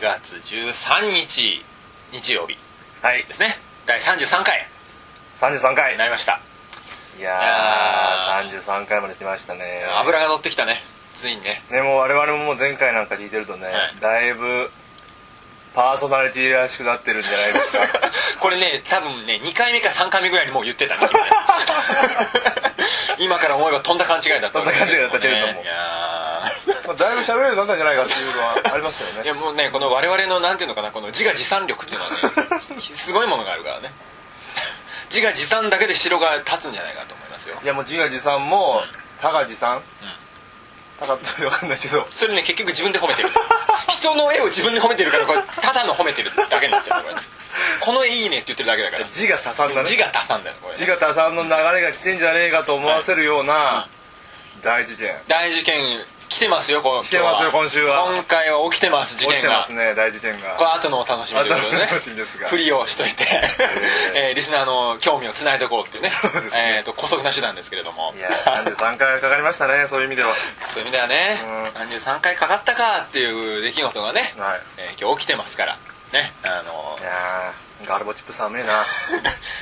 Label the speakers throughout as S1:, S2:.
S1: 月13日日曜日
S2: はい
S1: ですね第33回
S2: 33回
S1: になりました
S2: い
S1: や
S2: やー33回まで来ましたね
S1: 油が乗ってきたねついに ね
S2: ねもう我々ももう前回なんか聞いてるとね、
S1: い
S2: だいぶパーソナリティらしくなってるんじゃないですか
S1: これね多分ね2回目か3回目ぐらいにもう言ってたね 今から思えばとんだ勘違いだった
S2: とんだ勘違いだったけれども
S1: いやー
S2: まあだいぶ喋れるようになったんじゃないかっていうのはありましたよ
S1: いやもうねこの我々のなんていうのかなこの自我自賛力っていうのはね すごいものがあるからね自我自賛だけで城が立つんじゃないかと思いますよ
S2: いやもう自画自賛も高自賛高ってわかんないけど
S1: それね結局自分で褒 めてる人の絵を自分で褒めてるからこれただの褒めてるだけになっちゃうこれねこの絵いいねって言ってるだけだから
S2: 自画多賛だね
S1: 自我多産だよこれ
S2: 自画多賛の流れが来てんじゃねえかと思わせるような大事件
S1: 大事件来てますよこの
S2: 来てますよ今週は
S1: 今回は起きてます事
S2: 起き
S1: 件
S2: てま
S1: が
S2: すね大事件
S1: こ
S2: が
S1: れ後のお楽しみということで
S2: 後
S1: ね
S2: のお楽しみですが
S1: ふりをしといて、 えーリスナーの興味をつないでおこうっていうね
S2: そうですね
S1: えーと姑息な手段ですけれども
S2: いや33回かかりましたねそういう意味では
S1: そういう意味ではね、33回かかったかっていう出来事がね、
S2: はい
S1: えー今日起きてますからねあの
S2: いやーガルボチップ寒 いな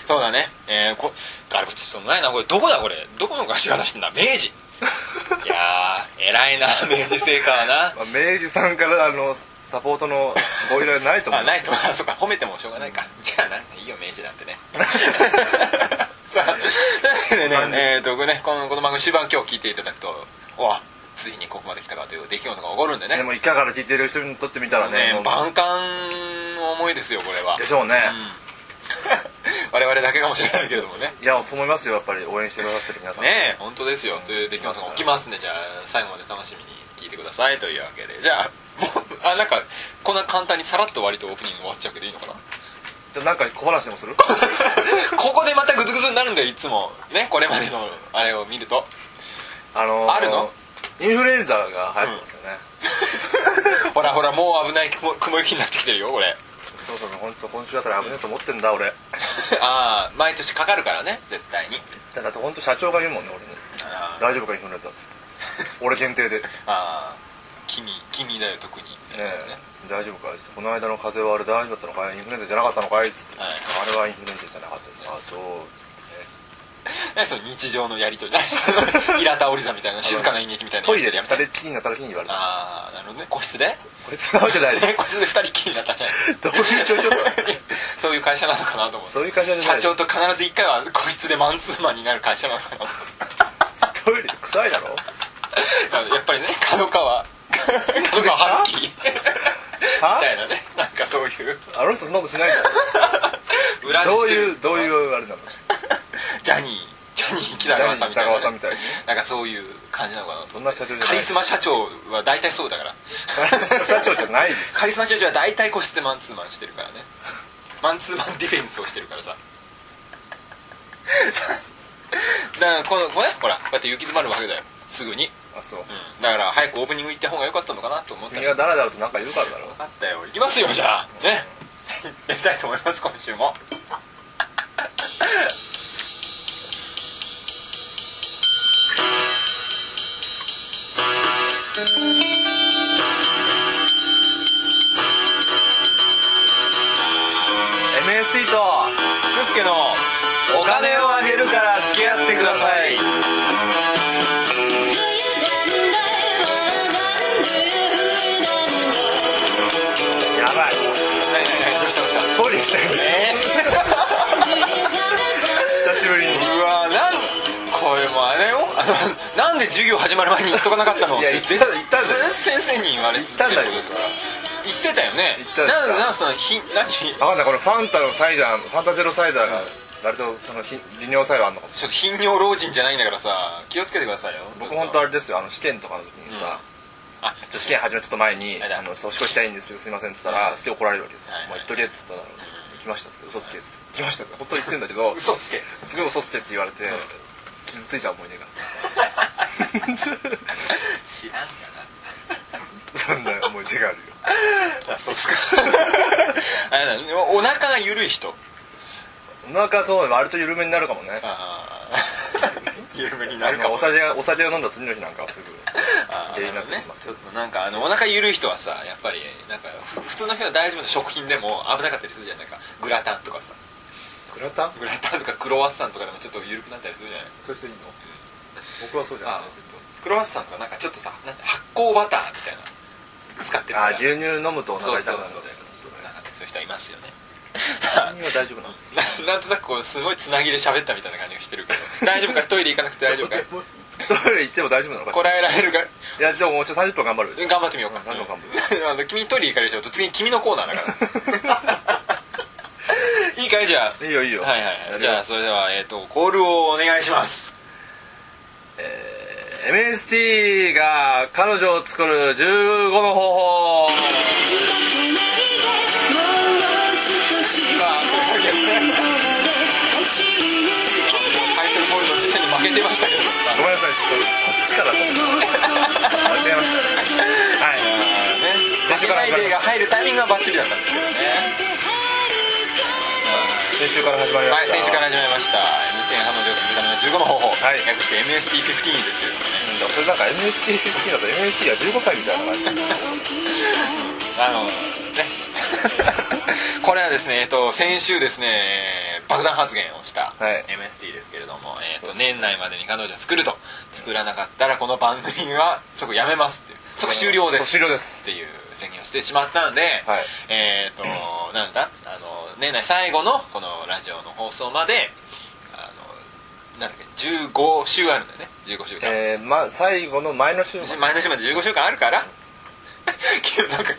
S1: そうだね、えー、こガルブチップもないなこれどこだこれどこの会社が出してんだ明治いやー偉いな明治製菓は な
S2: まあ明治さんからあのサポートのご依頼ないと思
S1: まあ
S2: う
S1: ないと思 うそうか褒めてもしょうがないかじゃあないいよ明治なんて ねさあというわけでね
S2: なんで
S1: えーとこれねこのこの番組終盤今日聞いていただくとおわついにここまで来たかという出来事が起こるんでね
S2: でも一回から聞いてる人にとってみたら
S1: ね
S2: ねもう
S1: 万感の思いですよこれは
S2: でしょう
S1: う
S2: ね、
S1: ん 我々だけかもしれないけれどもね
S2: いやそう思いますよやっぱり応援してくださってる皆さん、
S1: ねえ本当ですよという出来事が起きますんでじゃあ最後まで楽しみに聞いてくださいというわけでじゃあもうあなんかこんな簡単にさらっと割とオープニング終わっちゃうけどいい のかな
S2: じゃあなんか小話でもする
S1: ここでまたグズグズになるんだよいつもねこれまでのあれを見る と
S2: あのー
S1: あるの
S2: インフルエンザが流行ってますよね、
S1: ほらほらもう危ない雲雲行きになってきてるよこ れ
S2: そろそろ本当今週あたり危ねえと思ってんだ俺
S1: ああ毎年かかるからね絶対に
S2: だって本当社長が言うもんね俺に
S1: あー
S2: 大丈夫かインフルエンザっつ って俺限定で、ね
S1: あー君君だよ特にみたいなね
S2: え大丈夫かいっつってこの間の風邪はあれ大丈夫だったのかいインフルエンザじゃなかったのかいっつって、
S1: はい
S2: あれはインフルエンザじゃなかったですあそうっつってね
S1: 何その日常のやりとり 何そのイラタオリザみたいな静かな演劇みたいな
S2: トイレで
S1: や
S2: 二
S1: めて
S2: 人っきりになった時に言われた
S1: ああなるほどね個室で
S2: これ違うじゃない
S1: 個室で二人っきりになったんじゃない
S2: どういう状況だ
S1: そういう会社なのかなと思って
S2: そういう会社じゃ
S1: 社
S2: ない
S1: 長と必ず一回は個室でマンツーマンになる会社なのかなと思 って
S2: トイレ臭いだろ
S1: あのやっぱりね角 川角川春樹み
S2: は
S1: たいなねなんかそういう
S2: あの人そんなことしないんだ
S1: 裏に
S2: ど
S1: し
S2: う
S1: て
S2: い
S1: る
S2: うどういうあれなの
S1: ジャニージャニー北川さんみたい
S2: ジャニー喜多
S1: な
S2: 川さんみたいにね
S1: なんかそういう感じなのかなと
S2: そんな社長じゃない
S1: カリスマ社長は大体そうだから
S2: 社長じゃないです
S1: カリスマ社長は大体個室でマンツーマンしてるからねマンツーマンディフェンスをしてるからさだからこのこれほらこうやって行き詰まるわけだよすぐに、
S2: あそう
S1: うん、だから早くオープニング行った方が良かったのかなと思った
S2: 君
S1: よ
S2: がダラダラとなんか言うからだろ
S1: あったよ行きますよじゃあね行きたいと思います今週も
S2: MST と
S1: 福助のお金をあげるから付き合ってくださいはいはいはいどうしたどうした
S2: やばいトイレ行きたよね
S1: え
S2: 久しぶりに
S1: ー、 うわなんこれもあれよあのなんで授業始まる前に言っとかなかったの
S2: いや行った行ったんだよ
S1: 先生に言われて
S2: 言ったんだよ
S1: ですから言ってたよね
S2: 言ったんだよ
S1: なんでなんでそのひ何ちょ
S2: あかんないこのファンタのサイダーファンタゼロサイダーが割とそのひ利尿作用あんのかも
S1: っと頻尿老人じゃないんだからさ気をつけてくださいよ
S2: 僕本当あれですよあの試験とかの時にさ、
S1: あちょっ
S2: 試験始めちょっと前に「
S1: はいはい
S2: あの年越したいんですけどすいません」っつったらすげえ怒られるわけですよ
S1: はいはい
S2: 「もう行っとけ」っつったら「行きました」っつって「嘘つけ」っつって「行きました」っつって本当に言ってんだけど
S1: と嘘つ け
S2: すごい嘘つけって言われて傷ついた思 い出が
S1: 知らんか
S2: そんな思い出があるよ
S1: なあそうっすかあれだねお腹が緩い人
S2: お腹そう割と緩めになるかもね
S1: ああ緩めになる
S2: ま
S1: か
S2: あ
S1: も
S2: お酒がお酒を飲んだ次の日なんかはすぐ
S1: あー
S2: 下痢になってしまって
S1: なるほどねちょっとなんかあのお腹緩い人はさやっぱりなんかふ普通の人は大丈夫な食品でも危なかったりするじゃんないかグラタンとかさ
S2: グラタン
S1: グラタンとかクロワッサンとかでもちょっと緩くなったりするじゃない
S2: そうしていいの僕はそうじゃない
S1: あークロワッサンとかなんかちょっとさなんて発酵バターみたいな使ってるから
S2: あー牛乳飲むとお
S1: そうそ
S2: 腹痛
S1: う
S2: くなる
S1: そうそうなんかそ
S2: みたい
S1: ういう人はいますよね さあ
S2: なは大丈夫なんです
S1: ななんとなくこうすごいつなぎで喋ったみたいな感じがしてるけど大丈夫かいトイレ行かなくて大丈夫かい
S2: トイレ行っても大丈夫なのか
S1: こらえられるかい
S2: いやじゃあもうちょっと30分頑張る
S1: 頑張ってみようか
S2: 何の頑
S1: あの君にトイレ行かれちゃうと次君のコーナーだから いいかいじゃあ
S2: いいよいいよ
S1: はいはいはいじゃあそれでは、えー、とコールをお願いし ます
S2: えー MST が彼女を作る15の方法
S1: タイトルコールの時点に負けてましたけど
S2: ごめんなさいちょっとこっちからだ間違えましたはい
S1: 先週から始まりましたフライデーが入るタイミングがバッチリだったんですけどね
S2: 先週から始まりま
S1: はい
S2: した
S1: 先週から始まりました MST の彼女を作るための15の方法、
S2: はい
S1: 略して MST フィスキーンですけれどもね
S2: うんそれなんか MST 好きだと MST が15歳みたいな感じ
S1: あのね これはですね、えっと、先週ですね爆弾発言をした
S2: はい
S1: MST ですけれども、えっと、年内までに彼女を作ると作らなかったらこの番組は即やめますっていう即終了です
S2: 終了で
S1: っ
S2: す
S1: ていう宣言をしてしまったんで、
S2: はい
S1: えっ、となんだあの年内最後のこのラジオの放送まであのなんだっけ15週あるんだよね15週間、
S2: えー、まあ最後の前の週まで
S1: 前の週まで15週間あるから けどなんか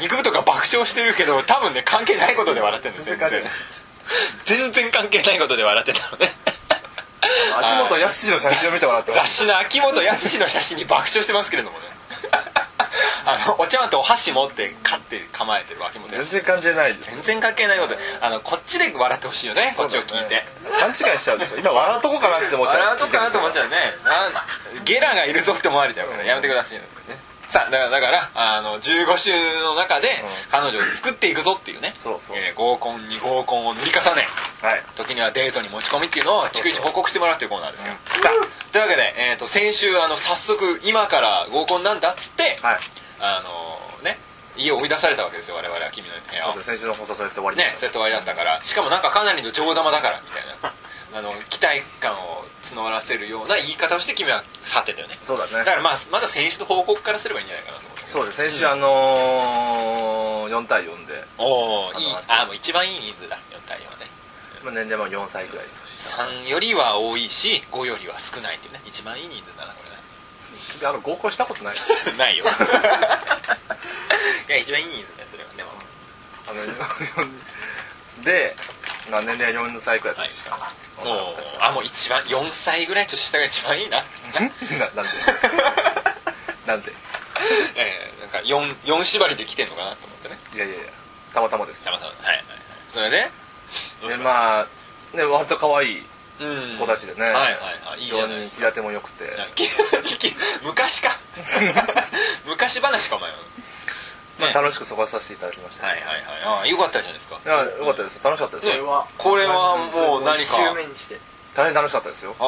S1: 肉部とか爆笑してるけど多分ね関係ないことで笑ってるんですよ
S2: 全然関係ない
S1: 全然関係ないことで笑ってたのね
S2: 秋元康の写真を見てもらって
S1: 雑誌の秋元康の写真に爆笑してますけれども ねあのお茶碗とお箸持ってカッて構えてる秋元
S2: 全
S1: 康
S2: 然感じないです
S1: 全然関係ないことであのこっちで笑ってほしいよねこっちを聞いて、
S2: 勘違いしちゃうでしょ今笑うとこかなって思っちゃう
S1: 笑うとこかなと思っちゃうねなんゲラがいるぞって思われちゃうからやめてくださいねさあだからだからあの15週の中で彼女を作っていくぞっていうね
S2: そうそう
S1: えー合コンに合コンを塗り重ね
S2: はい
S1: 時にはデートに持ち込みっていうのを逐一報告してもらうっていうコーナーですよ
S2: う
S1: さあというわけで、えー、と先週あの早速今から合コンなんだっつって、
S2: はい
S1: あのね家を追い出されたわけですよ我々は君の部屋を
S2: 先週の放送そうやって終わり
S1: ねそうやって終わりだったからしかもなんかかなりの上玉だからみた いなあの期待感を募らせるような言い方をして君は去ってたよね
S2: そうだね
S1: だからまあまだ選手の報告からすればいいんじゃないかなと思って
S2: そうです先週あのー、4対4で、
S1: おおいい
S2: あの
S1: ああもう一番いい人数だ4対4はね
S2: まあ、年齢も4歳ぐらいの年下
S1: 3よりは多いし5よりは少ないっていうね一番いい人数だなこれね
S2: あの合コンしたことない
S1: ないよいや一番いい人数だよそれはでも
S2: あので、まあ、年齢は4歳くらい年下、
S1: は
S2: 女の
S1: もう
S2: 子たちが
S1: あもう一番4歳ぐらい年下が一番いいな
S2: ななんでなんで
S1: えー、なんか 4, 4縛りで来てんのかなと思ってね
S2: いやいやいやたまたまです
S1: たまたまはいはいはいそれで
S2: でまあね割と可愛い
S1: うん
S2: 子たちでね、
S1: はいはいはいいい
S2: 非
S1: じゃ
S2: 常
S1: ないで
S2: に
S1: す
S2: 気立ても良くて
S1: か 昔か昔話かお前は、
S2: まあ、
S1: ね
S2: 楽しく過ごさせていただきました、
S1: はいはいはいああよかったじゃないですか
S2: いや良かったです楽しかったです、
S1: ねこれはもう何か
S3: 1周目にして
S2: 大変楽しかったですよ
S1: ああ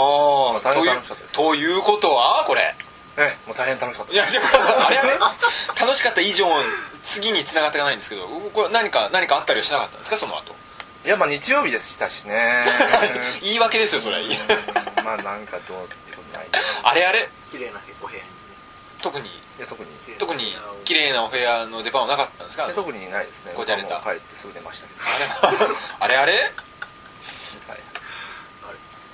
S2: 大
S1: と
S2: 変
S1: いう
S2: 楽しかったです
S1: ということはこれ
S2: ええもう大変楽しかった
S1: い
S2: です
S1: やちょっとあれはね楽しかった以上次に繋がっていかないんですけどこれ何か何かあったりはしなかったんですかその後
S2: いやまあ日曜日でしたしね
S1: 言い訳ですよそれ
S2: うんまあなんかどうっていうことないな
S1: あれあれ
S3: 綺麗なお部屋に
S1: 特に
S2: いや特にい
S1: 特に綺麗なお部屋の出番はなかったんですかあ
S2: や
S1: れ
S2: 特にないですね
S1: こじゃれた
S2: 僕はもう帰ってすぐ出ましたけど、
S1: あれあれ
S2: はい、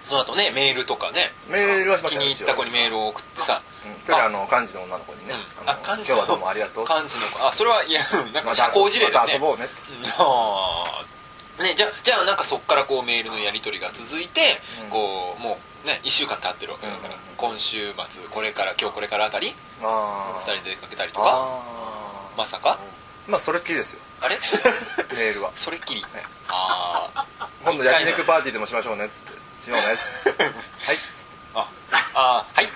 S1: その後ねメールとかね
S2: メールはしまし
S1: 気
S2: た
S1: に入った子にメールを送ってさ
S2: うん一人あの幹事の女の子にね、
S1: うん
S2: あ
S1: あ
S2: の
S1: 幹事
S2: 今
S1: の
S2: 日はどうもありがと う
S1: 感じの子あそれはいやうんなんか社
S2: また遊ぼ
S1: 交辞
S2: う
S1: 令だ
S2: ま
S1: よ
S2: た遊
S1: ね
S2: ぼうねっつって
S1: うんあーねじゃあじゃあなんかそっからこうメールのやり取りが続いて、
S2: うん
S1: こうもうね1週間経ってるわけだから、
S2: うんうんうん
S1: 今週末これから今日これからあたり
S2: あ
S1: 2
S2: ー
S1: 人で出かけたりとか
S2: あ
S1: まさか
S2: ーまあそれっきりですよ
S1: あれ
S2: メールは
S1: それっきりあー
S2: 今度焼肉パーティーでもしましょうねっつってしようねっつっ てはいっつって
S1: ああーはいっ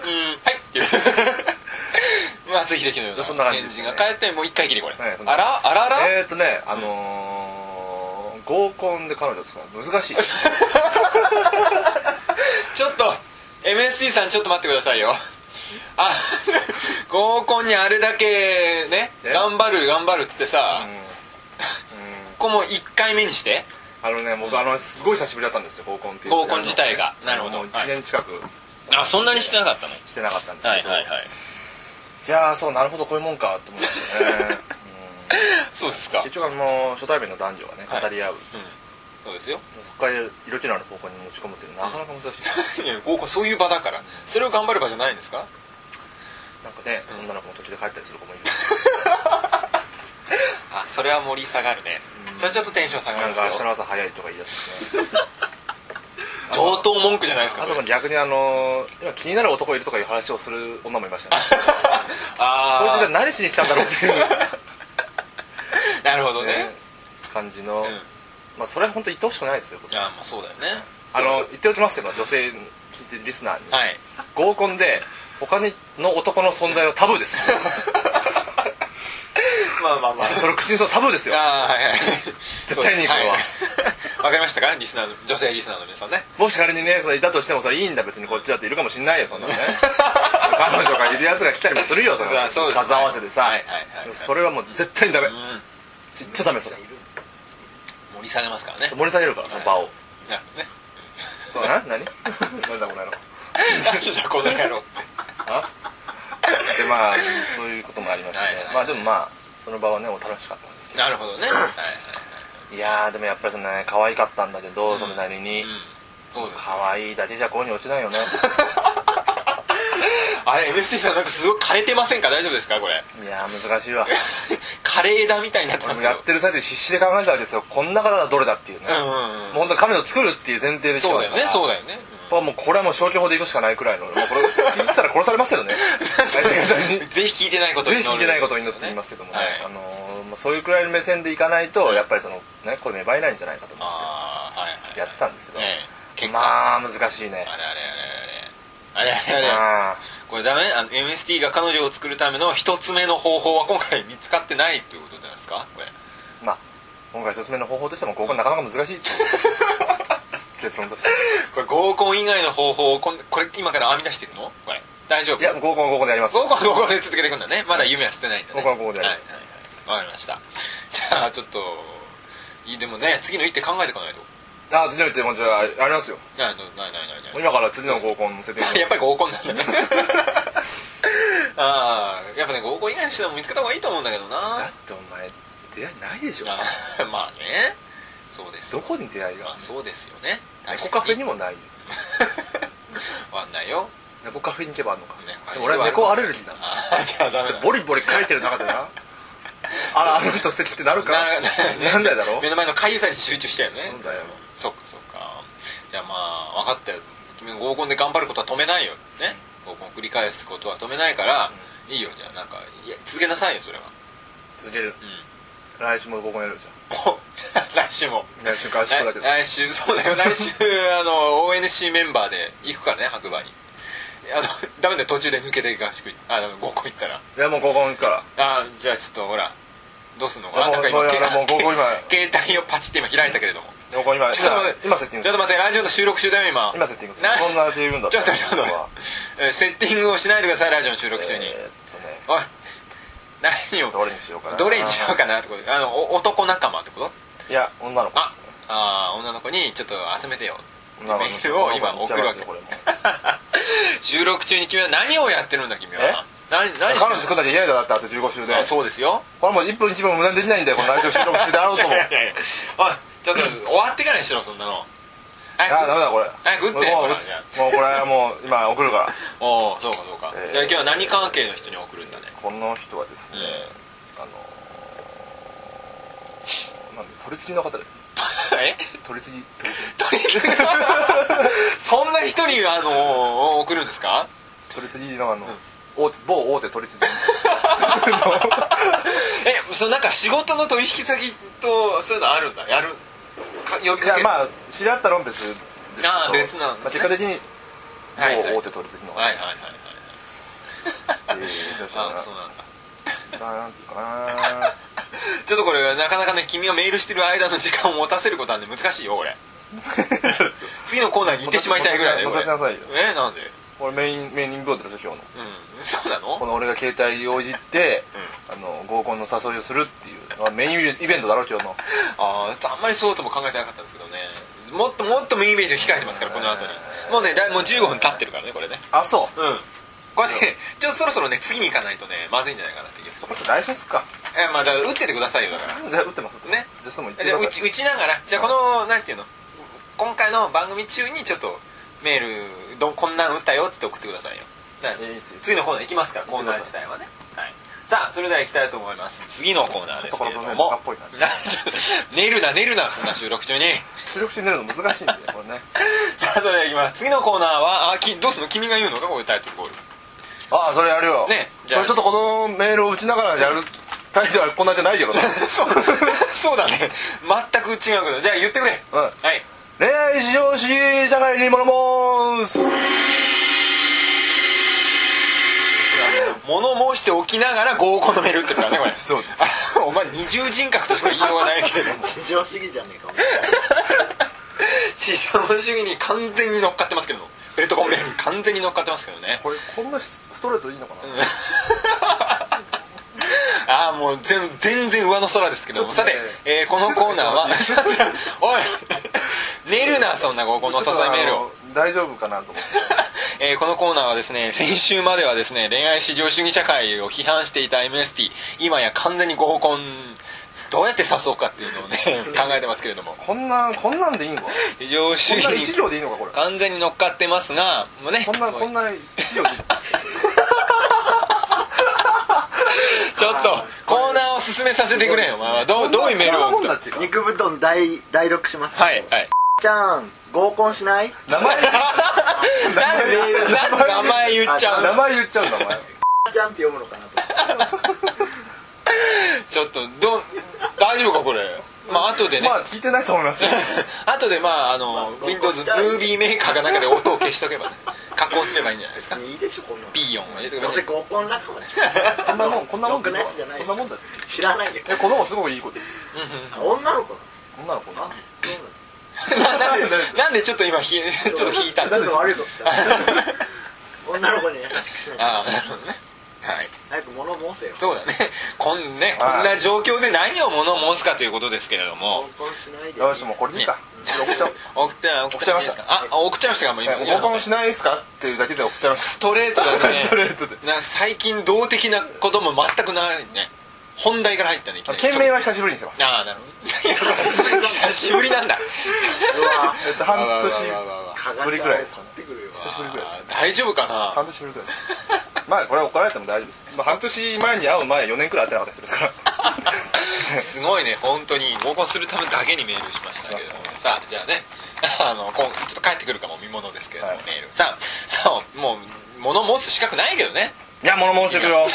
S1: ていうねう んはいっていう松井秀喜のような
S2: そんな感じで
S1: 返
S2: す
S1: 事
S2: ね
S1: が返ってもう一回きりこれ、
S2: はいそんな
S1: あらあらあら、
S2: えーとね あのー合コンで彼女を作るのは難しい
S1: ちょっと MST さんちょっと待ってくださいよあ 合コンにあれだけね
S2: え
S1: 頑張る頑張るっつってさ、ここも1回目にして
S2: あのね僕あのすごい久しぶりだったんですよ合コンっていう
S1: 合コン自体が
S2: あの
S1: なるほど
S2: もう1年近く
S1: あそんなにしてなかったの
S2: してなかったんです
S1: は
S2: け
S1: い
S2: ど
S1: はいはい
S2: いやーそうなるほどこういうもんかと思いましたね
S1: そうです
S2: う
S1: か
S2: ん結局あの初対面の男女がね語り合う
S1: そうですよ
S2: そこから色気のある方向に持ち込むっていうのはなかなか難しい
S1: いや合コンそういう場だからそれを頑張る場じゃないんですか
S2: なんかね女の子も途中で帰ったりする子もいる
S1: あそれは盛り下がるねそれちょっとテンション下が
S2: な
S1: る
S2: ん
S1: ん
S2: か
S1: で
S2: 明
S1: す
S2: 日
S1: よ
S2: の朝早いとか言い出すしね
S1: 上等文句じゃないですか
S2: あ
S1: そ
S2: と
S1: れ
S2: も逆にあの今気になる男いるとかいう話をする女もいましたねこいつ
S1: あ
S2: が何しに来たんだろうっていう
S1: あ なるほどね
S2: ね感じの、
S1: うん
S2: まあそれは本当言ってほしくないですよ
S1: あまあそうだよね
S2: あの言っておきますけど女性聞いてるリスナーに、
S1: はい
S2: 合コンで他の男の存在はタブーです
S1: まあまあまあ
S2: それ口にするのタブーですよ
S1: ああはいはい
S2: 絶対にこれは
S1: そうわかりましたかリスナーの女性リスナーの皆さんね
S2: もし仮にねそれいたとしてもそれいいんだ別にこっちだっているかもしんないよそんなのね彼女がいるやつが来たりもするよその
S1: あ そうですね
S2: 数合わせでさ、
S1: はいはいはい
S2: それはもう絶対にダメ
S1: うん
S2: 言っちゃダメそれ
S1: 盛り下げますからね
S2: 盛り下げるからその場を、
S1: なるほどね
S2: そうな何 なんだこの野郎
S1: なんだこの野郎
S2: あでまあそういうこともありましたね、
S1: はいはいはい
S2: まあでもまあその場はねお楽しかったんです け
S1: なるほどねはい
S2: どいやーでもやっぱりそのね可愛かったんだけど、
S1: うん
S2: それなりに、
S1: うんそうです
S2: 可愛いだけじゃこうに落ちない よね
S1: あれ MST さんなんかすごい枯れてませんか大丈夫ですかこれ
S2: いやー難しいわ
S1: 枯れ枝みたいになってますけど
S2: やってる最中必死で考えたわけですよこんな方はどれだっていうね、
S1: うん
S2: も
S1: うんうん
S2: う本当に彼を作るっていう前提でし
S1: そうだよねそううだよ ね
S2: もうこれはもう消去法でいくしかない くらいのもうこれ聞いてたら殺されますけどね最終的 に
S1: ぜひ聞いてないこと
S2: ぜひ聞いてないことを祈って言いますけどもね、
S1: はい
S2: あのーまあそういうくらいの目線でいかないとやっぱりそのねこれ芽生えないんじゃないかと思っ
S1: ああはいはい
S2: てやってたんですけど、
S1: ね結果
S2: まあ難しいね
S1: あれあれあれあれあれあれあれ
S2: あ
S1: これダメあの MST が彼女を作るための一つ目の方法は今回見つかってないということじゃないですかこれ
S2: ーまあ今回一つ目の方法としても合コンなかなか難し い結論として
S1: これ合コン以外の方法をこんこれ今から編み出していくのこれ大丈夫
S2: いや合コンは合コンでやります
S1: 合コン合コンで続けていくんだねまだ夢は捨てないんだね
S2: 合コンは合コンでやります
S1: はいはいはいわかりましたじゃあちょっといいでもね次の一手考えていかないと
S2: あ次の予定もじゃあありますよ
S1: いやないないないないない
S2: もう今から次の合コンの設定
S1: やっぱり合コンなんだね ああやっぱね合コン以外の手段も見つけた方がいいと思うんだけどな
S2: だってお前出会いないでしょ
S1: あーまあ ねそうです
S2: どこに出会い
S1: ま
S2: が
S1: あそうですよね
S2: 猫カフェに
S1: も
S2: もないよ
S1: わかんないよ
S2: 猫カフェに行けばあるのか
S1: 猫
S2: でも俺は猫アレルギーだ
S1: あーじゃあダメだ
S2: ボリボリ書いてる中で なあらあの人素敵ってなるか
S1: なな
S2: なんだよだろ
S1: 目の前の海遊祭に集中しちゃうよね
S2: そうだよ
S1: そっかそっかじゃあまあ分かったよ君合コンで頑張ることは止めないよね合コン繰り返すことは止めないから、いいよじゃあなんかいや続けなさいよそれは
S2: 続ける
S1: うん
S2: 来週も合コンやるじゃ
S1: お 来週も
S2: ん来週か合宿だけど
S1: 来来週そうだよ来週あの ONC メンバーで行くからね白馬にあのダメだよ途中で抜けて合宿あの合コン行ったら
S2: いやもう合コン行くから
S1: あじゃあちょっとほらどうすんの
S2: いや
S1: あんたが
S2: もう
S1: 今け
S2: もうもう合コン今
S1: 携帯をパチって今開いたけれども
S2: 合コン今
S1: ちょっと待っ
S2: 今
S1: て
S2: 今セッティン
S1: ち
S2: グ
S1: ょ
S2: す
S1: っと待
S2: る
S1: ってラジオの収録中だよ今
S2: 今セッティングする
S1: な
S2: こんな十分だ
S1: ちょっと待ってちょっと待ってえーセッティングをしないでくださいラジオの収録中に、
S2: えーっとね
S1: おい何を
S2: どれにしようかな
S1: どれにしようかなってことあのお男仲間ってこと
S2: いや女の子
S1: あ
S2: ですね
S1: あー女の子にちょっと集めてよ
S2: 女の子
S1: メールを今送るわけ
S2: これも
S1: 収録中に君は何をやってるんだ君は何何
S2: 彼女
S1: し
S2: 作んなきゃ嫌だよだってあと15週
S1: て
S2: で
S1: るあそうですよ
S2: これもう1分1分無駄にできないんだよこの内容収録してであろうと も
S1: いやいやいやおいちょっと終わってからにしろそんなのはい
S2: あダメだこれ
S1: 早く打って
S2: もう
S1: ほ
S2: も
S1: ら
S2: う
S1: じゃ
S2: もうこれはもう今送るから
S1: おおそうかそうか、
S2: えー
S1: じゃあ今日は何関係の人に送るんだね
S2: この人はですね、あのー、なんで取り次ぎの方ですね
S1: え
S2: 取り次ぎ取り次ぎ
S1: とりあえず そんな人にあの送るんですか
S2: 取り次ぎのあの、大手某大手取り次ぎ
S1: えそのなんか仕事の取引先とそういうのあるんだやるか呼びか
S2: い
S1: け
S2: や
S1: る
S2: まあ知り合ったら別ですけど
S1: あー別なんだね
S2: まあ、結果的に
S1: はいはい
S2: 某大手取り次ぎの方、
S1: はいはいはいはい
S2: えー、どうしよう
S1: あそうなんだ
S2: かななんていうかな
S1: ちょっとこれなかなかね君がメールしてる間の時間を持たせることはね難しいよ俺次のコーナーに行ってしまいたいぐらいだよこれ
S2: 任せなさいよ
S1: えなんで
S2: 俺メインメインにブードですよ今日の
S1: うんそうな
S2: こ
S1: の
S2: の俺が携帯をいじって、あの合コンの誘いをするっていうのがメインイベントだろ今日の
S1: あああんまりそうとも考えてなかったんですけどねもっともっとメインイベント控えてますからこの後にもうねだいもう15分経ってるからねこれね
S2: あそう
S1: うんこれねちょっとそろそろね次に行かないとねまずいんじゃないかなって気がする
S2: これ来週っすか
S1: えまあだから打っててくださいよだから
S2: じゃあ打ってますって
S1: ね
S2: じゃあそれも言って
S1: じゃあ
S2: く
S1: 打
S2: ださ
S1: ち打ちながらじゃあこのなんていうの今回の番組中にちょっとメールどこんなん打ったよって送ってくださいよはい
S2: いいいですよ
S1: 次のコーナー行きますからコーナー自体はねはいさあそれでは行きたいと思います次のコーナーですけれど
S2: ちょっとこの文
S1: も
S2: 化っぽいな
S1: なちょっと寝るな寝るなそんな収録中に
S2: い収録中に寝るの難しいんでこれね
S1: さあそれでは行きます次のコーナーはあきどうするの君が言うのかこういうタイトルコール
S2: ああそれやるよ
S1: ねじゃ
S2: そ
S1: あ
S2: れちょっとこのメールを打ちながらやる態度はこんなんじゃないよ
S1: そうそうだね全く違うけどじゃあ言ってくれ
S2: うん
S1: はい
S2: 恋愛しようし社会に物申す
S1: 物申しておきながら合コンのメール打ってるからねこれ
S2: そうです
S1: あ お前二重人格としか言いようがないけれども
S3: 地上主義じゃねえかお前
S1: 至上主義に完全に乗っかってますけどベルトコンベヤーに完全に乗っかってますけどね
S2: これこんなスストレートでいいのかな、
S1: ああもう全全然上の空ですけども
S2: ちょ
S1: さ
S2: っと
S1: て
S2: ね、
S1: えーこのコーナーはおい寝るなそんな合コンのお
S2: ちょ
S1: 誘
S2: っとあ
S1: い
S2: の
S1: メールを
S2: 大丈夫かなと思って
S1: えーこのコーナーはですね先週まではですね恋愛至上主義社会を批判していた MST 今や完全に合コンどうやって誘うかっていうのをね考えてますけれども
S2: こんなこん なんでいいんかこ
S1: 非常主
S2: んな
S1: 義
S2: 一
S1: に
S2: 行でいいのかこれ
S1: 完全に乗っかってますがもうね
S2: こんな
S1: もう
S2: こんな一行でいいの
S1: ちょっとコーナーを進めさせてくれよお前は どうどういうメールを
S2: こん
S1: 送っ
S2: なも
S1: たは
S2: んだっていうか
S3: 肉布団第第6します
S1: いはい
S3: ちゃん合コンしない
S2: 名前
S1: なんでなんで名前言っちゃう
S2: 名
S1: の
S2: 前言っちゃうんだお前
S3: ちゃんって読むのかなと
S1: ちょっとどう大丈夫かこれまあ後でね
S2: まあ聞いてないと思いますよ
S1: あとでまああの、Windows ムービーメーカーが中で音を消しとけばね加工すればいいんじゃないですか
S3: 別にいいでしょこんなの
S1: ピーヨンを 入れてく
S3: ど
S1: だ
S3: う
S1: さ
S3: せ
S1: い
S3: 合コン仲間でし
S2: こんなもんこんなもんだ
S3: ろくなやつじゃない
S2: こ
S3: で
S2: ん
S3: す
S2: なもんだよ
S3: ょ知らないよ
S2: えこの子すごいいい子ですよ
S3: あ女の子だ
S2: 女の子な
S3: あそうなんで
S1: ななんでなんでちょっと今ひちょっと引いたん
S3: す
S1: ですか
S3: ちょっと悪いこ とした女の子に優しくしない
S1: ああなるほどねはい
S3: 早く物申せよ
S1: そうだね こんねこんな状況で何を物を申すかということですけれど
S3: 合
S1: も
S3: コンしないで
S2: よしもうこれでいいか送 っちゃおう
S1: 送って送っちゃいましたああ送っちゃいましたかもう今
S2: え合コンしないですかっていうだけで送っちゃいまし
S1: ストレートだ
S2: た
S1: ね
S2: ストレートで
S1: な最近動的なことも全くないね本題から入ったねいきなり
S2: 件名は久しぶりに してます
S1: ああなるほど 久しぶりなんだ
S3: うわ
S2: えっと半年
S1: わわわわわ
S3: 蚊が
S2: ぶりぐらいですかね
S3: ってくるよ
S2: 久しぶりぐらいです
S1: あー大丈夫かな
S2: 半年ぶりくらいですまあこれは怒られても大丈夫です、まあ、半年前に会う前4年くらい会ってなかった人ですから
S1: すごいね本当に合コンするためだけにメールしましたけれどもさあじゃあね あの今ちょっと帰ってくるかも見ものですけれども、
S2: はい
S1: メールさあさあもう物申す資格ないけどね
S2: いや物申してくよ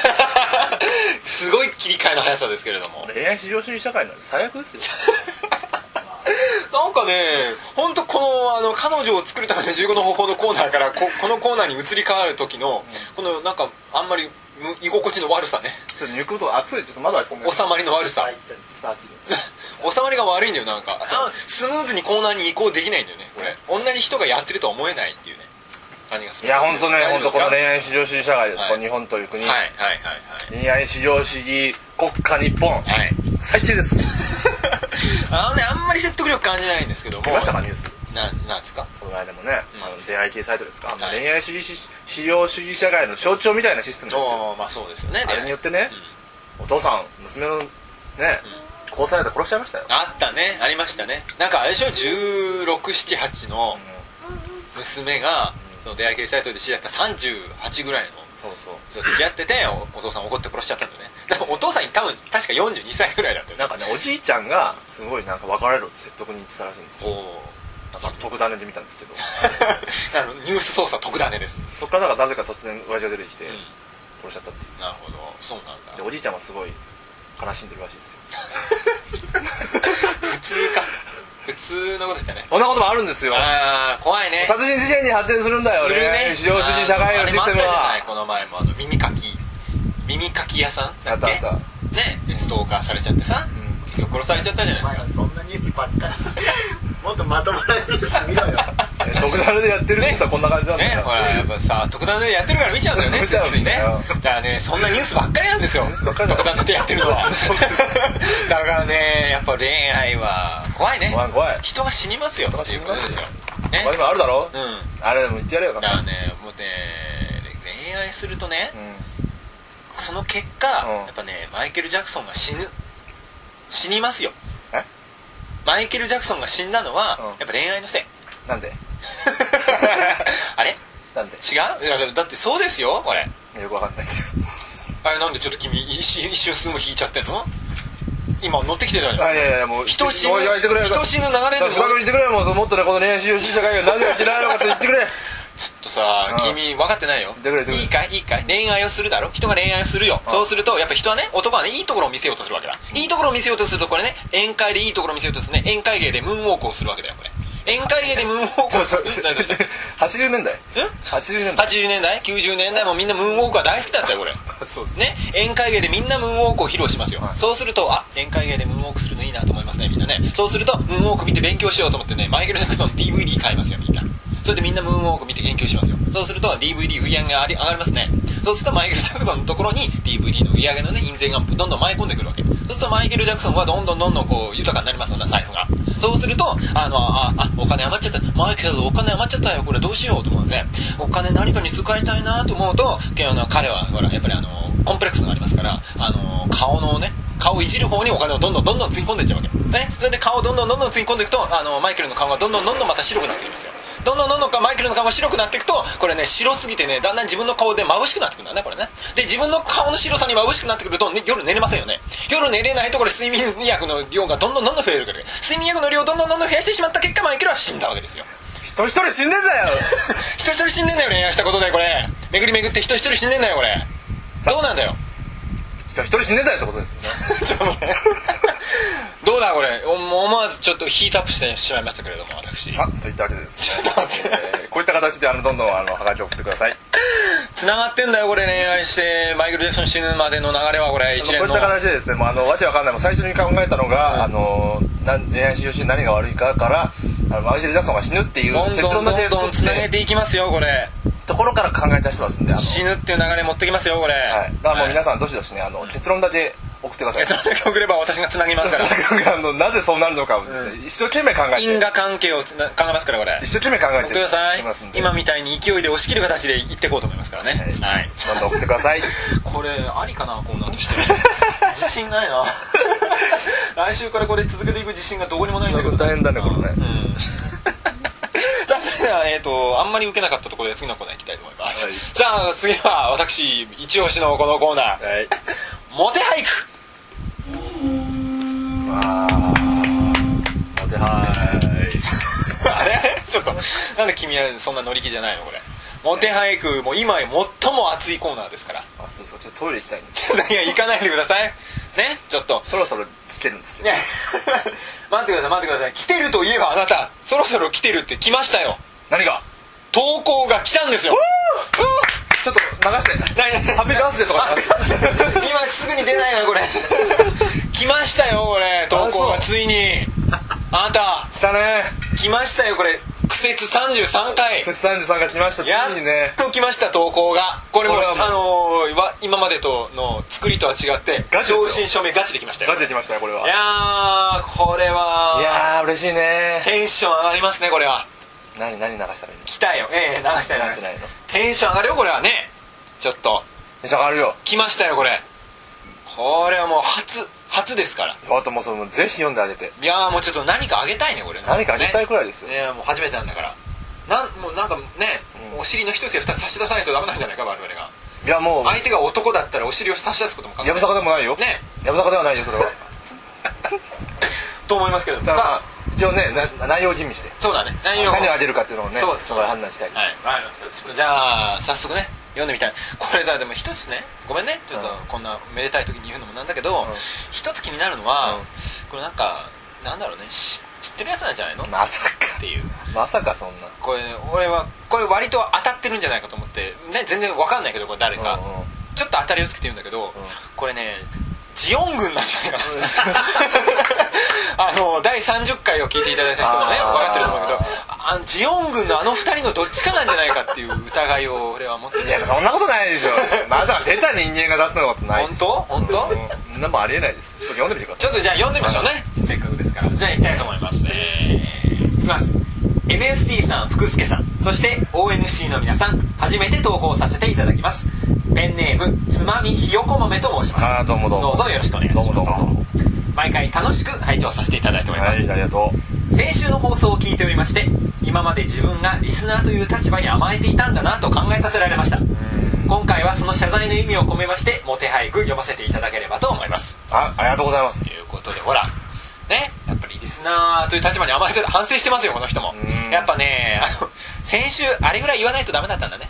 S1: すごい切り替えの速さですけれども
S2: 恋愛至上主義社会なんて最悪ですよ
S1: なんかね本当このあの彼女を作るための15の方法のコーナーからここのコーナーに移り変わる時のこのなんかあんまりむ居心地の悪さね
S2: ちょっと抜くこと暑いちょっと窓開けてね
S1: 収まりの悪さ
S3: 入ったの
S2: ちょっと暑い
S1: 収まりが悪いんだよなんかあスムーズにコーナーに移行できないんだよねこれ同じ人がやってるとは思えないっていうね感じがす
S2: い
S1: る
S2: や本当ね
S1: 大
S2: 本
S1: 丈夫です
S2: 当こ
S1: か
S2: の恋愛至上主義社会です、
S1: はい
S2: この日本という国、
S1: はいはいはい
S2: 恋愛至上主義国家日本
S1: はいはい
S2: 最低です
S1: あのねあんまり説得力感じないんですけども
S2: 見ましたかニュース
S1: ななんですか
S2: この間もね、あの出会い系サイトですか、あの
S1: はい
S2: 恋愛主義し至上主義社会の象徴みたいなシステムですよ
S1: おーまあそうですよね
S2: あれによってね、お父さん娘のね、交際相手殺しちゃいましたよ
S1: あったねありましたねなんかあれでしょ1678の娘がその出会い系サイトで知り合った38ぐらいの
S2: そうそう
S1: そう付き合ってておお父さん怒って殺しちゃったんだよねなんかお父さんに多分確か42歳ぐらいだったよ
S2: なんかねおじいちゃんがすごいなんか別れろって説得に行ってたらしいんです
S1: そ
S2: よ
S1: う
S2: なんか特ダネで見たんですけど
S1: あのニュース操作特ダネです
S2: そっからなんかなぜか突然親父が出てきて殺しちゃったっていう
S1: なるほどそうなんだ
S2: でおじいちゃんはすごい悲しんでるらしいですよ
S1: 普通か普通のこと言ったね
S2: そんなこともあるんですよ
S1: ああ怖いね
S2: 殺人事件に発展するんだよ
S1: する
S2: ね非常主義社会のシステム
S1: あーあのあれ
S2: は
S1: もあったじゃないこの前もあの耳かき耳かき屋さんだ
S2: あ
S1: っ
S2: った
S1: け
S2: あった
S1: ねストーカーされちゃってさ、結局殺されちゃったじゃ
S3: お
S1: ないです
S3: 前
S1: か、
S3: らそんなニュースばっかりもっとまともなニュース見ろよ
S2: 特ダネでやってるニュースはこんな感じなんだ
S1: ね
S2: よ
S1: ほらやっぱさ特段でやってるから見ちゃうんだよね
S2: 見ちゃうんだよ
S1: ついついねだからねそんなニュースばっかりなんですよ
S2: スばっかりだ
S1: 特段でやってるのは だからねやっぱ恋愛は怖いね
S2: 怖い怖い
S1: 人が死にますよ
S2: が
S1: って
S2: 死
S1: い
S2: に
S1: うこ
S2: ま
S1: とですす
S2: よ
S1: よ
S2: まあ
S1: ね
S2: 今あるだろ
S1: うん
S2: あれでも言ってやれよ
S1: だからねもうね恋愛するとね
S2: うん
S1: その結果、
S2: うん
S1: やっぱねマイケル・ジャクソンが死ぬ死にますよ
S2: え
S1: マイケル・ジャクソンが死んだのは、
S2: うん
S1: やっぱ恋愛のせ い
S2: なんで
S1: あれ違
S2: なんで
S1: ういやだってそうですよこれ
S2: よくわかんないです よ
S1: あれなんでちょっと君一瞬一瞬数も引いちゃってんの今乗ってきてたじゃ
S2: あ
S1: ん
S2: いやいやもう
S1: 人死ぬ
S2: もうやめてくれよ
S1: 人死ぬ流れで
S2: さ
S1: も
S2: 深く言ってくれよもうもっとねこの恋愛修習者会がなぜやってないのかって言ってくれ
S1: ちょっとさ、
S2: うん
S1: 君分かってないよ
S2: どれぐらいどれぐらい
S1: いいかいいいかい恋愛をするだろ人が恋愛をするよ、
S2: うん
S1: そうするとやっぱ人はね男はねいいところを見せようとするわけだ、いいところを見せようとするとこれね宴会でいいところを見せようとするね宴会芸でムーンウォークをするわけだよこれ宴会芸でムーンウォークを
S2: ちょちょ
S1: 何どうしたん
S2: 80年代80年代
S1: 80年代90年代もみんなムーンウォークが大好きだったよこれ
S2: そうですね
S1: ね、宴会芸でみんなムーンウォークを披露しますよ、
S2: はい
S1: そうするとあ宴会芸でムーンウォークするのいいなと思いますねみんなねそうするとムーンウォーク見て勉強しようと思ってねマイケル・ジャクソンの DVD 買いますよみんなそれでみんなムーンウォーク見て研究しますよそうすると DVD 売り上げがあり上がりますねそうするとマイケル・ジャクソンのところに DVD の売り上げのね印税がどんどん舞い込んでくるわけそうするとマイケル・ジャクソンはどんどんどんどんこう豊かになりますよね財布がそうするとあのああお金余っちゃったマイケルお金余っちゃったよこれどうしようと思うねお金何かに使いたいなと思うとけあの彼はほらやっぱりあのコンプレックスがありますから、あの顔のね、顔をいじる方にお金をどんどんどんどんつぎ込んでいっちゃうわけ。ね、それで顔をどんどんどんどんつぎ込んでいくと、あのマイケルの顔がどんどんどんどんまた白くなっていきますよ。どんどんどんどんかマイケルの顔が白くなっていくと、これね、白すぎてね、だんだん自分の顔で眩しくなってくるんだね、これね。で、自分の顔の白さに眩しくなってくると、ね夜寝れませんよね。夜寝れないとこれ睡眠薬の量がどんどんどんどん増えるから、睡眠薬の量をどんどんどんどん増やしてしまった結果、マイケルは死んだわけです よ。
S2: 一人一人死んでん だよ
S1: 一人一人死んでんだよ、恋愛したことで、これ。巡り巡って一人一人死んでんだよ、これ。どうなん だよ。
S2: 一人一人死んでんだよってことですよね
S1: どうだこれお思わずちょっとヒートアップしてしまいましたけれども私
S2: さといったわけでですね
S1: ちょっと待って
S2: えーこういった形であのどんどんあのハガキを送ってください
S1: つながってんだよこれ恋愛してマイケル・ジャクソン死ぬまでの流れはこれ一
S2: こう
S1: 連
S2: いっ
S1: の
S2: た形でですねもうあのわけわかんないもう最初に考えたのが、あのなん恋愛修習に何が悪いかからあのマイケル・ジャクソンが死ぬっていう
S1: どん
S2: 結
S1: ど
S2: 論
S1: ん
S2: の
S1: ど
S2: 提
S1: んど
S2: 出
S1: んつなげていきますよこれ
S2: ところから考え出してますんであの
S1: 死ぬっていう流れ持ってきますよこれ、
S2: はい、だからもう皆
S1: さ
S2: さんどしどしねあの結論だけ送ってください
S1: その時送れば私がつなぎますから
S2: あのなぜそうなるのかをですね一生懸命考え
S1: 因
S2: て
S1: 果関係をつな考えますからこれ
S2: 一生懸命考え
S1: 送っててください
S2: きますんで
S1: 今みたいに勢いで押し切る形でいっていこうと思いますからねはい、
S2: どんどん送ってくだ さい
S1: これありかなこんなことしてる自信ない な来週からこれ続けていく自信がどこにもないんだけど
S2: 大変だねこれね
S1: うんさあそれでは、えー、とあんまり受けなかったところで次のコーナー行きたいと思います、
S2: はい
S1: さあ次は私一押しのこのコーナー
S2: はい
S1: 「モテ俳句
S2: まあ待ては」
S1: あれちょっとなんで君はそんな乗り気じゃないのこれモテ俳句もう今最も熱いコーナーですから
S2: ーいあそうそうちょっとトイレ行きたいんですよ
S1: いや行かないでくださいねちょっと
S2: そろそろ来てる んですよ
S1: いや待ってください待ってください来てるといえばあなたそろそろ来てるって来ましたよ
S2: 何が
S1: 投稿が来たんですよ
S2: ちょっと流して
S1: 何何
S2: ハッピーバースデーとか流して
S1: 今すぐに出ないなこれ 来ましたよこれ投稿が
S2: あそう
S1: ついにあなた
S2: 来たね
S1: 来ましたよこれ苦節33回
S2: 節33が来ましたつ
S1: や
S2: いにね
S1: っと来ました投稿がこれも
S2: これはもう
S1: あのーわ今までとの作りとは違って
S2: ガチですよ
S1: 正真正銘ガチできましたよ
S2: ガチで来ましたよこれはい
S1: やーこれはい
S2: やー嬉しいね
S1: テンション上がりますねこれは
S2: 何何流したらいいの
S1: 来たよええ流したよ
S2: 流してないの
S1: テンション上がるよこれはねちょっと
S2: テンション上がるよ
S1: 来ましたよこれこれはもう初初ですから
S2: あともうそれもうぜひ読んであげて
S1: いやーもうちょっと何かあげたいねこれ
S2: 何かあげたい
S1: ね
S2: くらいですよ
S1: いやもう初めてなんだからなんもうなんかね、
S2: うん
S1: お尻の一つや二つ差し出さないとダメなんじゃないか我々が
S2: いやもう
S1: 相手が男だったらお尻を差し出すことも考え
S2: やぶさかでもないよ
S1: ね
S2: やぶさかではないよそれ は
S1: と思いますけども
S2: た
S1: さ
S2: だ一応ねな内容を吟味して
S1: あそうだね何を
S2: 何をあげるかっていうのをね
S1: そう
S2: そこで判断したい
S1: はい、わかりました。ちょっとじゃあ、早速ね、読んでみたい。これさ、でも一つね、ごめんね、ちょっと
S2: うん
S1: こんなめでたい時に言うのもなんだけど、
S2: ん
S1: 一つ気になるのは、
S2: うん
S1: これなんか、なんだろうね、し知ってるやつなんじゃないのっ
S2: まさか
S1: ていう。
S2: まさかそんな
S1: これね、俺は、これ割と当たってるんじゃないかと思って、ね、全然わかんないけど、これ誰か。
S2: うんうん
S1: ちょっと当たりをつけて言うんだけど、これね、ジオン軍なんじゃないかな あの第30回を聞いていただいた人もね
S2: あー
S1: 分かってると思うけどあのジオン軍のあの2人のどっちかなんじゃないかっていう疑いを俺は持ってる
S2: いやそんなことないでしょまさか出た人間が出すのことない
S1: 本
S2: でしょ
S1: 当本当、
S2: うんそんなもんありえないですちょっと読んでみてくだ
S1: ち
S2: さ
S1: ょっとじゃあ読んでみましょうねせっかくですからじゃあいきたいと思いますえー、いきます MSD さん福助さんそして ONC の皆さん初めて投稿させていただきますペンネームつまみひよこ豆と申します
S2: あーどうもどうも
S1: ぞよろしくお願いします
S2: どうもどうも
S1: 毎回楽しく拝聴させていただいてお
S2: い
S1: りま
S2: は
S1: す、
S2: いありがとう
S1: 先週の放送を聞いておりまして今まで自分がリスナーという立場に甘えていたんだなと考えさせられました今回はその謝罪の意味を込めましてモテ俳句読ませていただければと思います
S2: あありがとうございます
S1: ということでほらねやっぱりリスナーという立場に甘えて反省してますよこの人も
S2: うん
S1: やっぱねあの先週あれぐらい言わないとダメだったんだね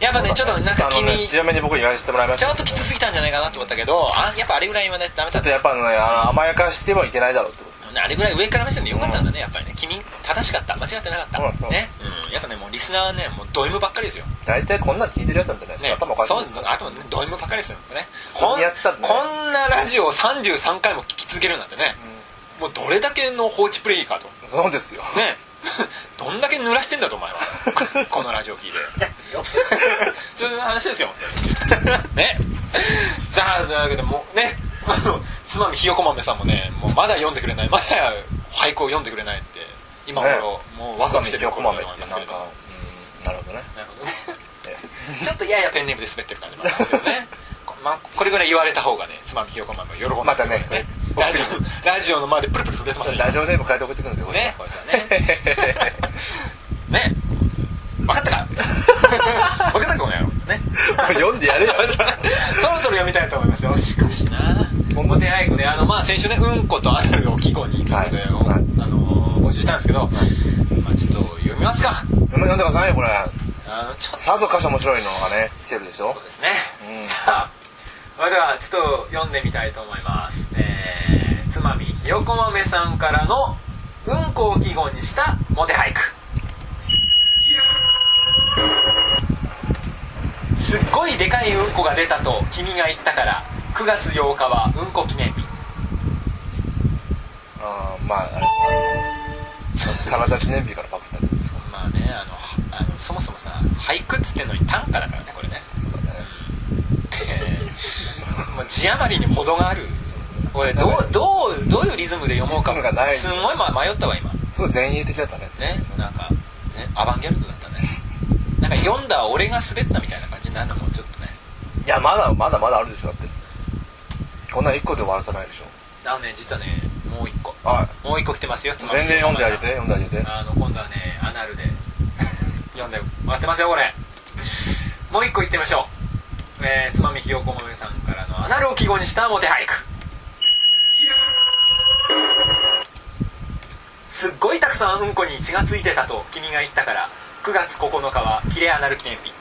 S1: やっぱねちょっとなんか
S2: あ
S1: 君
S2: のね強めに僕言わせてもらいまし
S1: ち
S2: た
S1: ょっときつすぎたんじゃないかなと思ったけどあやっぱあれぐらい言わないとダメだ
S2: ちょ
S1: っ
S2: っと
S1: た
S2: やっぱあのねあの甘やかしてはいけないだろうってことです
S1: あれぐらい上から目線でよかったんだねやっぱりね君正しかった間違ってなかった
S2: そうそう
S1: ねうんやっぱねもうリスナーはねもうド M ばっかりですよ
S2: 大体こんなの聞いてるやつなんてね
S1: ね、
S2: 頭おかしい
S1: そう
S2: で
S1: ですす
S2: よ
S1: あとねド M ばっかりですよね
S2: そ
S1: こ
S2: うんやってたんだね
S1: こんなラジオを33回も聞き続けるなんてね、もうどれだけの放置プレイかと
S2: そうですよ
S1: ね どんだけ濡らしてんだとお前は このラジオ聞いて そういう話ですよねさあというわけでもうねあのつまみひよこ豆さんもねもうまだ読んでくれないまだ俳句を読んでくれないって今頃、
S2: ね
S1: もうワ
S2: わ
S1: ク
S2: さ
S1: ワ
S2: び
S1: クして
S2: ひ
S1: る
S2: よ
S1: と
S2: こ
S1: ころ
S2: 豆
S1: だ
S2: っ
S1: と思い
S2: て
S1: ま
S2: なん
S1: す
S2: か
S1: けど
S2: うんなるほどね
S1: なるほどね
S2: え
S1: ちょっとややペンネームで滑ってる感じもありますけど ね。こまあ、これぐらい言われた方がね、つまみひよこまんも喜んでくれる
S2: またね
S1: ラジオ、ラジオの前でプルプル震えてますよ。
S2: ラジオネーム変えて送ってくるんですよこれ
S1: ね、こいつはね。ね。分かったか分かったか、この野郎。ね。
S2: 読んでやれよ
S1: そろそろ読みたいと思いますよ。しかしな今後手配句で、あの、まあ、先週ね、うんことアナルを季語に、ということで、
S2: はいはい
S1: あの、募集したんですけど、まあ、ちょっと読みますか。
S2: 読んでくださいよこれ
S1: あの、ちょっと
S2: さぞかし面白いのがね来てるでしょ
S1: そうですね、
S2: うん
S1: さあそれではちょっと読んでみたいと思いますえー、つまみひよこ豆さんからのうんこを記号にしたモテ俳句すっごいでかいうんこが出たと君が言ったから9月8日はうんこ記念日
S2: あーまああれですねサラダ記念日からパクったってことですか
S1: まあねあのあのそもそもさ俳句っつってんのに短歌だからねこれね
S2: そうだね
S1: えー もう字余りに程がある俺どうどうどういうリズムで読もうか
S2: リズムがない
S1: すごいま迷ったわ今
S2: すごい前衛的だったね
S1: ねなんかねアバンギャルドだったねなんか読んだ俺が滑ったみたいな感じになるのもちょっとね
S2: いやまだまだまだあるでしょだってこんな1個で終わらさないでしょ
S1: あのね実はねもう一個
S2: は
S1: もう一個来てますよつまみ
S2: 全然読んであげて読んであげて
S1: あの今度はねアナルで読んで待ってますよこれもう一個いってみましょう、えー、つまみきよこもめさんからのアナルを記号にしたモテ俳句すっごいたくさんうんこに血がついてたと君が言ったから9月9日はキレアナル記念日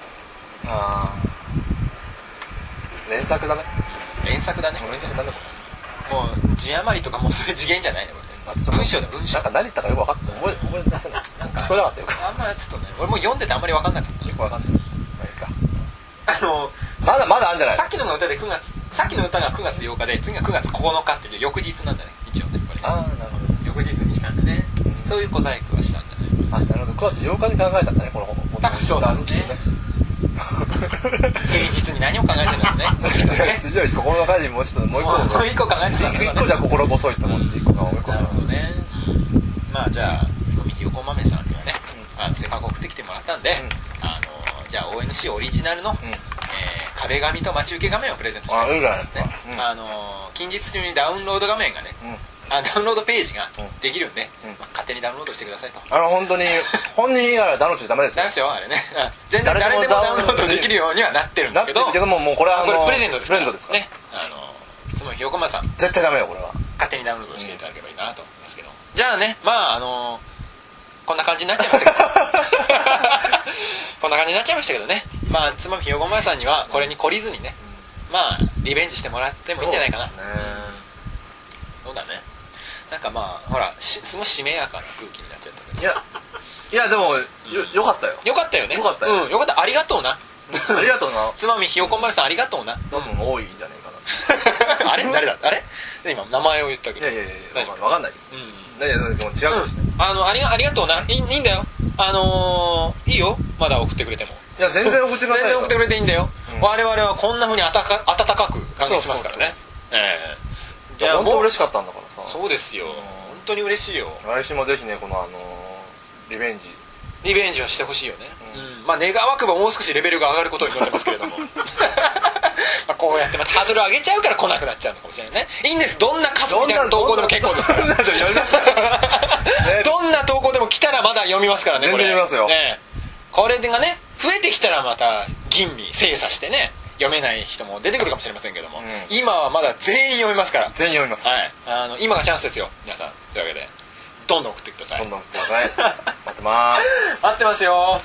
S2: ああ連作だね
S1: 連作だねこれ
S2: 連作だねこ
S1: もう字余りとかもうそれ次元じゃないねこ
S2: れ
S1: れ文章だ文章
S2: なんか何言ったかよく分かった覚え覚え出せない
S1: なん
S2: 聞こえなかったよ
S1: あんまちょっとね俺もう読んでてあんまり分かんなかった
S2: よく分かんないまあいいか
S1: あの
S2: まだまだあんじゃない
S1: さっきのが歌で9月さっきの歌が9月8日で次が9月9日っていう翌日なんだね一応ねこれ
S2: ああなるほ
S1: 翌日にしたんだねそういう小細工はしたんだね
S2: どあなるほど9月8日に考えたんだねこの本
S1: 多分そうだろうね平日に何も考えてないん だねこの人はね
S2: 辻より心の中にもうちょっともう一個
S1: もう一個考えてたんだ
S2: 一個じゃ心細いと思って一個かもう一個
S1: なる
S2: か
S1: ほどねまあじゃあつみ横豆さんにはねあのせっかく送ってきてもらったんであのじゃあ ONC オリジナルの
S2: うん
S1: えー壁紙と待ち受け画面をプレゼントしておりますね
S2: あいいじゃないですかうん
S1: あのー近日中にダウンロード画面がね
S2: うん
S1: あダウンロードページができるんで、
S2: うんうん
S1: まあ勝手にダウンロードしてくださいと。
S2: あの本当に本人以外はダウンロードしちゃダメです
S1: ダ
S2: よ
S1: メですよあれねあ全然誰
S2: 誰
S1: で
S2: で
S1: も
S2: も
S1: ダ
S2: ダ
S1: ウ
S2: ウ
S1: ンロ
S2: ンロ
S1: ー
S2: ー
S1: ド
S2: ド
S1: で
S2: で
S1: き
S2: き
S1: る
S2: る
S1: ようにはなってるん
S2: な
S1: だ
S2: っ
S1: け
S2: て
S1: ど
S2: るけどももうこれは
S1: あ
S2: あ
S1: こ
S2: の
S1: れプレゼントです
S2: プレゼントですから
S1: ねあのつまりひよこまさん
S2: 絶対ダメよこれは
S1: 勝手にダウンロードしていただければいいなと思いますけど、じゃあねまああのこんな感じになっちゃいましたけ どこんな感じになっちゃいましたけどねまあつまみひよこまさんにはこれに懲りずにね、まあリベンジしてもらってもいいんじゃないかな
S2: そう
S1: そうだねなんかまあほらしすごいしめやかな空気になっちゃったけど
S2: ですねいやいやでもよよかったよ
S1: よかったよね
S2: よかったよ
S1: うん、よかったありがとうな
S2: ありがとうな
S1: つまみひよこまるさんありがとうな
S2: 多分多いんじゃねえかな
S1: あれ誰だあれ今名前を言ったけ
S2: い
S1: ど
S2: やいやいや
S1: 大丈
S2: わ
S1: 夫
S2: かんない
S1: うん
S2: だけどでも違う
S1: うん
S2: しね
S1: あのありがありがとうないいいいんだよあのーいいよまだ送ってくれても
S2: いや全然送ってくだ
S1: 全
S2: さい
S1: 然
S2: よ
S1: 送ってくれていいんだよ、
S2: うん
S1: 我々はこんなふうに温か温かく歓迎しますからねええ
S2: いや本当嬉し
S1: か
S2: かったんだからさ
S1: そうですよ本当に嬉しいよ
S2: 来週もぜひねこのあのーリベンジ
S1: リベンジはしてほしいよね、
S2: う
S1: うんまあ願わくばもう少しレベルが上がることになってますけれど もまあこうやってまたハードル上げちゃうから来なくなっちゃうのかもしれないねいいんですどんなカスみたいな投稿でも結構ですから
S2: どんなどんなどんなどんなどんなどんな ね
S1: どんな投稿でも来たらまだ読みますからねこれ
S2: 全然読みますよ
S1: ねこれがね増えてきたらまた吟味精査してね読めない人も出てくるかもしれませんけども、
S2: うん
S1: 今はまだ全員読みますから
S2: 全員読みます
S1: はいあの今がチャンスですよ皆さんというわけでどんどん送ってください
S2: どんどん送ってください待ってま す
S1: 待ってますよ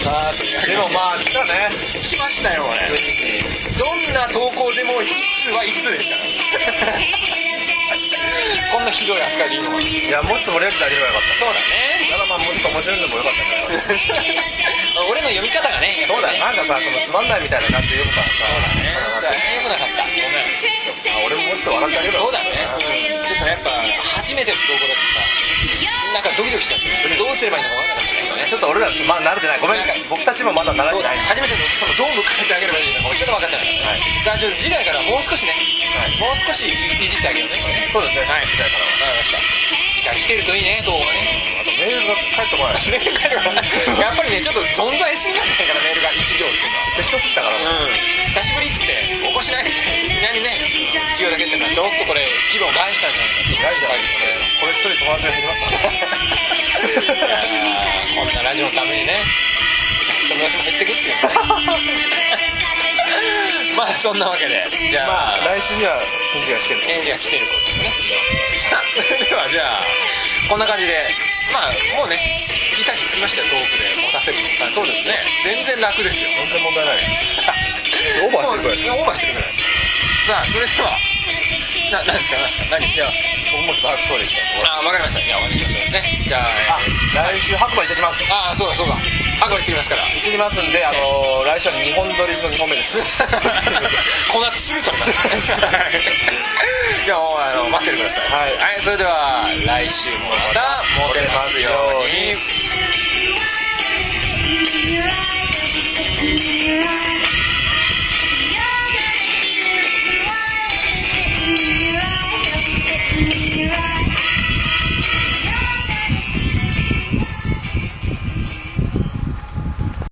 S2: さあでもまあ来たね
S1: 来ましたよこれどんな投稿でもいつはいつですから こんなひどい扱いでいいのかない
S2: やもっと盛り上げてあげればよかっ
S1: そうだね
S2: たただまあもっと面白いのもよかったんだけど
S1: 俺の読み方がね
S2: そうだよ
S1: ね
S2: なんかさそのつまんないみたいな感じで読むからさ
S1: そうだねよくなかったごめん
S2: あ俺ももうちょっと笑ってあげる
S1: そうだね、ちょっとやっぱ初めての投稿だとさなんかドキドキしちゃってどうすればいいのかわからなかったんだよね
S2: ちょっと俺らまだ慣れてないごめん僕たちもまだ慣れ
S1: そう
S2: て
S1: だ
S2: ない
S1: ね初めてのそのどう迎えてあげればいいのかもちょっと分かってない
S2: はい
S1: じゃあちょっと次回からもう少しね、もう少しいじってあげようねこれね
S2: そうですねはいみたいから
S1: わかりました次回来てるといいね投稿が ね
S2: あとメールが返ってこない
S1: メールがやっぱりねちょっと存在すぎなんじゃないからメールが一行っていうのは
S2: 消しとくしたからね
S1: うん久しぶりっつって起こしないでいきなりね一行だけってのはちょっとこれ気分を害したんじゃないか
S2: 大事だねこれ一人友達ができました
S1: い
S2: ね
S1: やーこんなラジオのため にね友達も減ってくっていうね まあそんなわけでじゃあ、
S2: 来週には返事が来てる
S1: 返事が来てることですねさあそれではじゃあこんな感じでまあもうね板につきましたよトークで持たせる感じそうですね全然楽です よ
S2: 全然問題ないオーバーしてるこれ
S1: もうオーバーしてるぐらいさあそれではな何ですか何ですか何いや
S2: 僕もちょっと白馬でした
S1: あわかりましたじゃあ終わりにしましょうねじゃあえー
S2: あ来週白馬いたします
S1: ああそうだそうだ白馬行ってきますから
S2: いたしますんであのー来週は日本撮りの2本目です
S1: この後すぐ撮りますじゃあもうあの待っててください
S2: はい
S1: はいそれでは来週もまたモテますように
S4: Thank you.